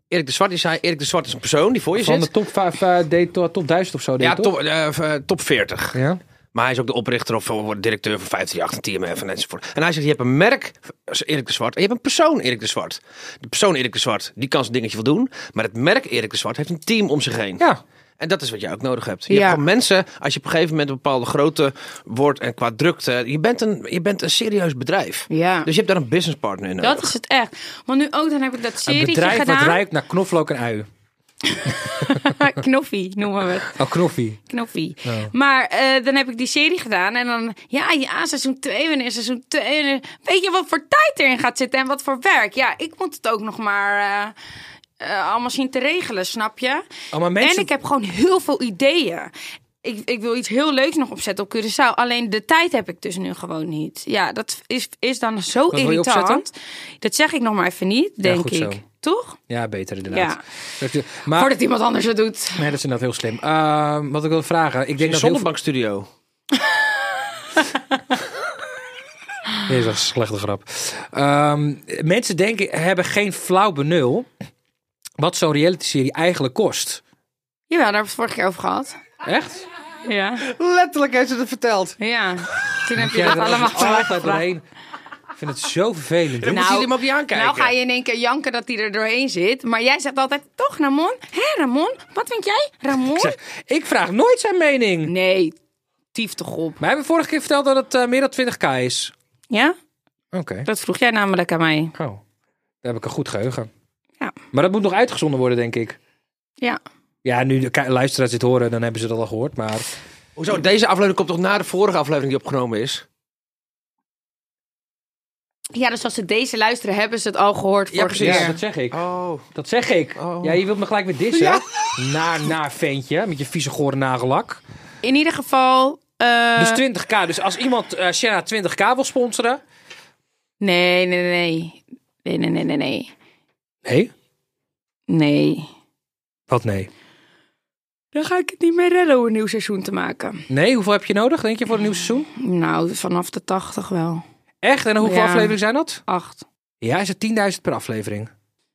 [SPEAKER 4] Erik de Zwart, die zei, Erik de Zwart is een persoon die voor je
[SPEAKER 3] Van de
[SPEAKER 4] zit.
[SPEAKER 3] top 5, top 1000 of zo,
[SPEAKER 4] ja,
[SPEAKER 3] toch?
[SPEAKER 4] top, eh, eh, top 40.
[SPEAKER 3] Ja.
[SPEAKER 4] Maar hij is ook de oprichter of eh, directeur van 538 en TMF en enzovoort. En hij zegt, je hebt een merk, als Erik de Zwart, en je hebt een persoon, Erik de Zwart. De persoon Erik de Zwart, die kan zijn dingetje wel doen. Maar het merk Erik de Zwart heeft een team om zich heen.
[SPEAKER 3] Ja.
[SPEAKER 4] En dat is wat je ook nodig hebt. Je
[SPEAKER 2] Ja.
[SPEAKER 4] hebt gewoon mensen, als je op een gegeven moment een bepaalde grootte wordt en qua drukte. Je bent een, je bent een serieus bedrijf.
[SPEAKER 2] Ja.
[SPEAKER 4] Dus je hebt daar een business partner in nodig.
[SPEAKER 2] Dat is het echt. Want nu ook, dan heb ik dat
[SPEAKER 3] Een
[SPEAKER 2] serietje
[SPEAKER 3] bedrijf wat
[SPEAKER 2] gedaan.
[SPEAKER 3] ruikt naar knoflook en ui.
[SPEAKER 2] Knoffie noemen we het.
[SPEAKER 3] Oh, knoffie.
[SPEAKER 2] knoffie. Maar eh, dan heb ik die serie gedaan. En dan, ja, ja, seizoen 2, wanneer is seizoen 2? Weet je wat voor tijd erin gaat zitten en wat voor werk? Ja, ik moet het ook nog maar eh, eh, allemaal zien te regelen, snap je?
[SPEAKER 3] Oh, maar mensen-
[SPEAKER 2] En ik heb gewoon heel veel ideeën. Ik, ik wil iets heel leuks nog opzetten op Curaçao. Alleen de tijd heb ik dus nu gewoon niet. Ja, dat is, is dan zo
[SPEAKER 3] wil je
[SPEAKER 2] irritant.
[SPEAKER 3] opzetten?
[SPEAKER 2] Dat zeg ik nog maar even niet, denk
[SPEAKER 3] goed
[SPEAKER 2] ik.
[SPEAKER 3] zo. Ah.
[SPEAKER 2] Toch?
[SPEAKER 3] Ja, beter inderdaad.
[SPEAKER 2] Ja.
[SPEAKER 3] Dat je- Maar,
[SPEAKER 2] Voordat iemand anders het doet.
[SPEAKER 3] Nee, dat is inderdaad heel slim. Ehm, wat ik wil vragen, ik denk dat
[SPEAKER 4] Een
[SPEAKER 3] heel veel-
[SPEAKER 4] zonnebankstudio.
[SPEAKER 3] Jezus, dat is een slechte grap. Ehm, mensen denken, hebben geen flauw benul wat zo'n reality-serie eigenlijk kost.
[SPEAKER 2] Jawel, daar hebben we het vorige keer over gehad.
[SPEAKER 3] Echt?
[SPEAKER 2] Ja.
[SPEAKER 4] Letterlijk heeft ze het verteld.
[SPEAKER 2] Ja, toen heb je
[SPEAKER 3] Jij
[SPEAKER 2] dat
[SPEAKER 3] er
[SPEAKER 2] allemaal
[SPEAKER 3] altijd
[SPEAKER 2] gevraagd.
[SPEAKER 3] doorheen. Ik vind het zo vervelend.
[SPEAKER 4] Dan moet
[SPEAKER 2] Nou,
[SPEAKER 4] je hem ook niet aankijken.
[SPEAKER 2] Nou ga je in één keer janken dat hij er doorheen zit. Maar jij zegt altijd, toch Ramon? Hé Ramon, wat vind jij? Ramon?
[SPEAKER 3] Zeg, ik vraag nooit zijn mening.
[SPEAKER 2] Nee, tief toch op.
[SPEAKER 3] Maar hebben we vorige keer verteld dat het eh, meer dan 20k is?
[SPEAKER 2] Ja,
[SPEAKER 3] Oké.
[SPEAKER 2] dat vroeg jij namelijk aan mij.
[SPEAKER 3] Oh, daar heb ik een goed geheugen.
[SPEAKER 2] Ja.
[SPEAKER 3] Maar dat moet nog uitgezonden worden, denk ik.
[SPEAKER 2] Ja,
[SPEAKER 3] Ja, nu de ki- luisteraars dit horen, dan hebben ze dat al gehoord. Maar
[SPEAKER 4] Hoezo? Deze aflevering komt toch na de vorige aflevering die opgenomen is?
[SPEAKER 2] ja dus als ze deze luisteren, hebben ze het al gehoord vorige
[SPEAKER 4] precies.
[SPEAKER 3] ja,
[SPEAKER 2] keer.
[SPEAKER 3] dat zeg ik.
[SPEAKER 4] Oh.
[SPEAKER 3] Dat zeg ik.
[SPEAKER 4] Oh.
[SPEAKER 3] Ja, je wilt me gelijk weer dissen. Naar, naar ventje, met je vieze gore nagellak.
[SPEAKER 2] In ieder geval... eh,
[SPEAKER 3] Dus 20k. Dus als iemand eh Shanna 20k wil sponsoren...
[SPEAKER 2] nee, nee, nee. Nee, nee, nee, nee, nee.
[SPEAKER 3] Nee?
[SPEAKER 2] Nee.
[SPEAKER 3] Wat nee?
[SPEAKER 2] Dan ga ik het niet meer redden om een nieuw seizoen te maken.
[SPEAKER 3] Nee, hoeveel heb je nodig, denk je, voor een nieuw seizoen?
[SPEAKER 2] Nou, vanaf de 80 wel.
[SPEAKER 3] Echt? En hoeveel
[SPEAKER 2] Ja.
[SPEAKER 3] afleveringen zijn dat?
[SPEAKER 2] Acht.
[SPEAKER 3] Ja, is het 10.000 per aflevering.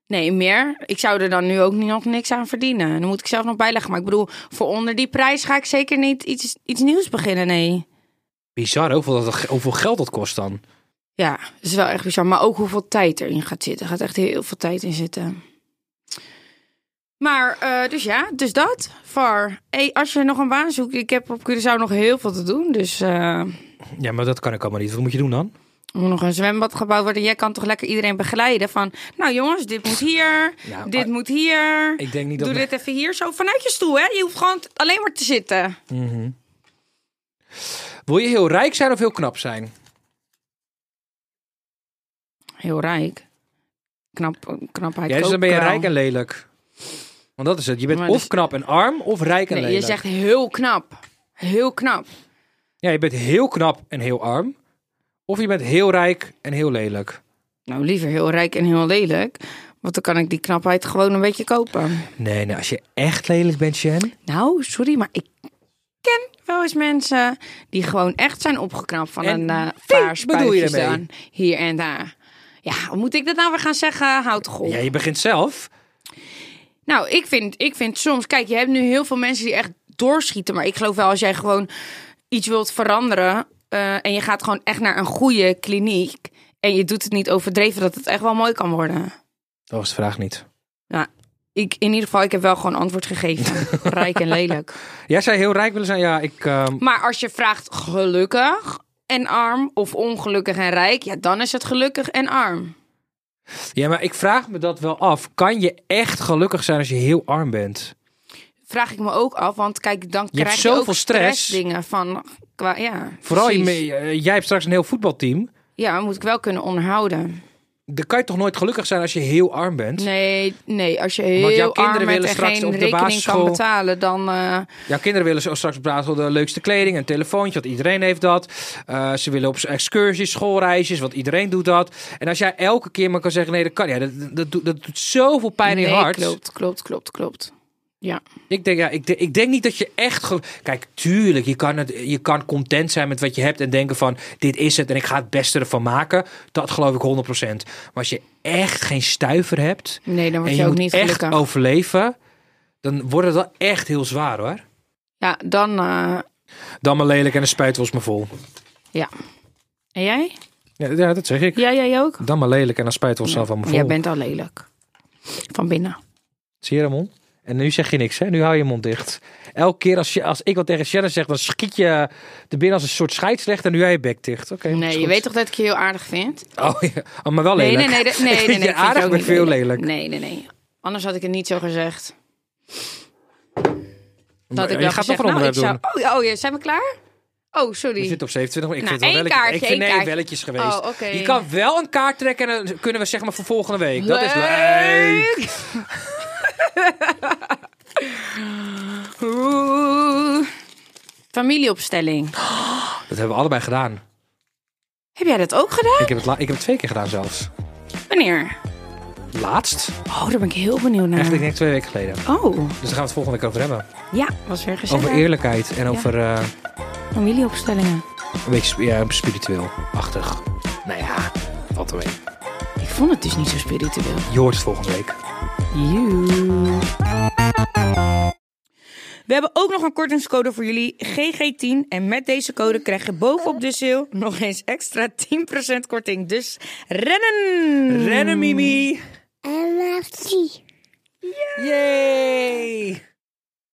[SPEAKER 2] Nee, meer. Ik zou er dan nu ook niet- nog niks aan verdienen. Dan moet ik zelf nog bijleggen. Maar ik bedoel, voor onder die prijs ga ik zeker niet iets, iets nieuws beginnen, nee.
[SPEAKER 3] Bizar, hoeveel, dat, hoeveel geld dat kost dan.
[SPEAKER 2] Ja, dat is wel echt bizar. Maar ook hoeveel tijd erin gaat zitten. Er gaat echt heel veel tijd in zitten. Maar, eh, dus ja, dus dat. Var. Hey, als je nog een baan zoekt, ik heb op Curaçao nog heel veel te doen. Dus eh,
[SPEAKER 3] Ja, maar dat kan ik allemaal niet. Wat moet je doen dan?
[SPEAKER 2] er moet nog een zwembad gebouwd worden. Jij kan toch lekker iedereen begeleiden van... Nou jongens, dit moet hier,
[SPEAKER 3] Nou,
[SPEAKER 2] dit
[SPEAKER 3] ah,
[SPEAKER 2] moet hier.
[SPEAKER 3] Ik denk niet dat...
[SPEAKER 2] Doe dit even hier zo vanuit je stoel, hè? Je hoeft gewoon t- alleen maar te zitten.
[SPEAKER 3] Wil je heel rijk zijn of heel knap zijn?
[SPEAKER 2] Heel rijk. Knap, knapheid. eh,
[SPEAKER 3] Ja, dus
[SPEAKER 2] koopt
[SPEAKER 3] dan ben je
[SPEAKER 2] wel.
[SPEAKER 3] rijk en lelijk. Want dat is het. Je bent
[SPEAKER 2] Maar
[SPEAKER 3] of
[SPEAKER 2] dus-
[SPEAKER 3] knap en arm of rijk en
[SPEAKER 2] Nee, je
[SPEAKER 3] lelijk.
[SPEAKER 2] zegt heel knap. Heel knap.
[SPEAKER 3] Ja, je bent heel knap en heel arm. Of je bent heel rijk en heel lelijk.
[SPEAKER 2] Nou, liever heel rijk en heel lelijk. Want dan kan ik die knapheid gewoon een beetje kopen.
[SPEAKER 3] Nee, nee, als je echt lelijk bent, Shen.
[SPEAKER 2] Nou, sorry, maar ik ken wel eens mensen die gewoon echt zijn opgeknapt van
[SPEAKER 3] En
[SPEAKER 2] een eh
[SPEAKER 3] wie
[SPEAKER 2] paar
[SPEAKER 3] bedoel je
[SPEAKER 2] spuitjes
[SPEAKER 3] daarmee?
[SPEAKER 2] dan. Hier en daar. Ja, hoe moet ik dat nou weer gaan zeggen? Houd toch op.
[SPEAKER 3] Oh. Ja, je begint zelf.
[SPEAKER 2] Nou, ik vind, ik vind soms... Kijk, je hebt nu heel veel mensen die echt doorschieten. Maar ik geloof wel, als jij gewoon iets wilt veranderen... eh, en je gaat gewoon echt naar een goede kliniek... en je doet het niet overdreven, dat het echt wel mooi kan worden.
[SPEAKER 3] Dat was de vraag niet.
[SPEAKER 2] Nou, ik, in ieder geval, ik heb wel gewoon antwoord gegeven. Rijk en lelijk.
[SPEAKER 3] Jij zei heel rijk willen zijn. Ja, ik... ehm,
[SPEAKER 2] Maar als je vraagt gelukkig en arm of ongelukkig en rijk... ja, dan is het gelukkig en arm.
[SPEAKER 3] ja, maar ik vraag me dat wel af. Kan je echt gelukkig zijn als je heel arm bent?
[SPEAKER 2] vraag ik me ook af. Want kijk, dan
[SPEAKER 3] hebt
[SPEAKER 2] krijg je
[SPEAKER 3] zoveel
[SPEAKER 2] ook
[SPEAKER 3] stress.
[SPEAKER 2] dingen van. Qua, ja,
[SPEAKER 3] Vooral je
[SPEAKER 2] precies.
[SPEAKER 3] mee- eh, jij hebt straks een heel voetbalteam.
[SPEAKER 2] Ja, moet ik wel kunnen onderhouden.
[SPEAKER 3] Dan kan je toch nooit gelukkig zijn als je heel arm bent?
[SPEAKER 2] Nee, nee, als je heel
[SPEAKER 3] jouw kinderen
[SPEAKER 2] arm bent
[SPEAKER 3] willen
[SPEAKER 2] en
[SPEAKER 3] straks
[SPEAKER 2] geen
[SPEAKER 3] op de
[SPEAKER 2] rekening
[SPEAKER 3] basisschool-
[SPEAKER 2] kan betalen, dan eh,
[SPEAKER 3] Jouw kinderen willen zo straks op Basel de leukste kleding, een telefoontje, want iedereen heeft dat. Eh, ze willen op excursies, schoolreisjes, want iedereen doet dat. En als jij elke keer maar kan zeggen, nee, dat kan ja, dat, dat, doet- dat doet zoveel pijn in
[SPEAKER 2] nee,
[SPEAKER 3] je hart.
[SPEAKER 2] klopt, klopt, klopt, klopt. Ja,
[SPEAKER 3] Ik, denk, ja, ik, de- ik denk niet dat je echt... gel- Kijk, tuurlijk, je kan, het, je kan content zijn met wat je hebt en denken van, dit is het en ik ga het beste ervan maken. Dat geloof ik 100%. Maar als je echt geen stuiver hebt
[SPEAKER 2] nee, dan
[SPEAKER 3] en
[SPEAKER 2] word
[SPEAKER 3] je
[SPEAKER 2] je ook
[SPEAKER 3] moet
[SPEAKER 2] niet
[SPEAKER 3] echt
[SPEAKER 2] gelukkig.
[SPEAKER 3] overleven, dan wordt het wel echt heel zwaar hoor.
[SPEAKER 2] Ja, dan. eh,
[SPEAKER 3] Dan maar lelijk en de spuit was me vol.
[SPEAKER 2] ja. En jij?
[SPEAKER 3] Ja, ja, dat zeg ik.
[SPEAKER 2] Ja, jij ook?
[SPEAKER 3] Dan maar lelijk en dan spijt we onszelf allemaal vol.
[SPEAKER 2] Jij bent al lelijk. Van binnen.
[SPEAKER 3] Zie je Ramon? En nu zeg je niks, hè? Nu hou je je mond dicht. Elke keer als, je, als ik wat tegen Shannon zeg, dan schiet je er binnen als een soort scheidsrechter. En nu jij je bek dicht. Oké. is
[SPEAKER 2] Nee, je
[SPEAKER 3] goed.
[SPEAKER 2] weet toch dat ik je heel aardig vind?
[SPEAKER 3] Oh, ja. Oh, maar wel lelijk.
[SPEAKER 2] Nee, nee, nee. nee, nee,
[SPEAKER 3] Ik
[SPEAKER 2] nee,
[SPEAKER 3] vind
[SPEAKER 2] nee,
[SPEAKER 3] je
[SPEAKER 2] ik vind
[SPEAKER 3] aardig,
[SPEAKER 2] ook
[SPEAKER 3] maar
[SPEAKER 2] niet
[SPEAKER 3] veel lelijk.
[SPEAKER 2] Nee, nee, nee. Anders had ik het niet zo gezegd. Dat
[SPEAKER 3] Maar
[SPEAKER 2] had ik
[SPEAKER 3] je
[SPEAKER 2] wel
[SPEAKER 3] gaat
[SPEAKER 2] gezegd,
[SPEAKER 3] nog een
[SPEAKER 2] nou, ik
[SPEAKER 3] onderwerp
[SPEAKER 2] zou...
[SPEAKER 3] doen.
[SPEAKER 2] Oh, ja, oh ja, zijn we klaar? Oh, sorry.
[SPEAKER 3] Je zit op 27, maar ik vind
[SPEAKER 2] Nou,
[SPEAKER 3] het wel
[SPEAKER 2] één
[SPEAKER 3] lelijk.
[SPEAKER 2] kaartje,
[SPEAKER 3] ik vind
[SPEAKER 2] één
[SPEAKER 3] nee,
[SPEAKER 2] kaartje.
[SPEAKER 3] belletjes geweest.
[SPEAKER 2] Oh, oké.
[SPEAKER 3] Je kan wel een kaart trekken en dan kunnen we zeg maar voor volgende week. Dat is leuk.
[SPEAKER 2] Oeh. Familieopstelling.
[SPEAKER 3] Dat hebben we allebei gedaan.
[SPEAKER 2] Heb jij dat ook gedaan?
[SPEAKER 3] Ik heb het, la- ik heb het twee keer gedaan zelfs.
[SPEAKER 2] Wanneer?
[SPEAKER 3] Laatst?
[SPEAKER 2] Oh, daar ben ik heel benieuwd naar.
[SPEAKER 3] Echt, ik denk twee weken geleden. Dus
[SPEAKER 2] Oh,
[SPEAKER 3] daar gaan we het volgende keer over hebben.
[SPEAKER 2] ja, was weer gezellig.
[SPEAKER 3] Over eerlijkheid en over eh,
[SPEAKER 2] Familieopstellingen.
[SPEAKER 3] een beetje sp- ja, spiritueel-achtig. Nou ja, wat ermee.
[SPEAKER 2] Ik vond het dus niet zo spiritueel.
[SPEAKER 3] Je hoort het volgende week.
[SPEAKER 2] We hebben ook nog een kortingscode voor jullie, GG10. En met deze code krijg je bovenop de sale nog eens extra 10% korting. Dus rennen!
[SPEAKER 3] Rennen, Mimi!
[SPEAKER 1] En laat zien.
[SPEAKER 3] Yay!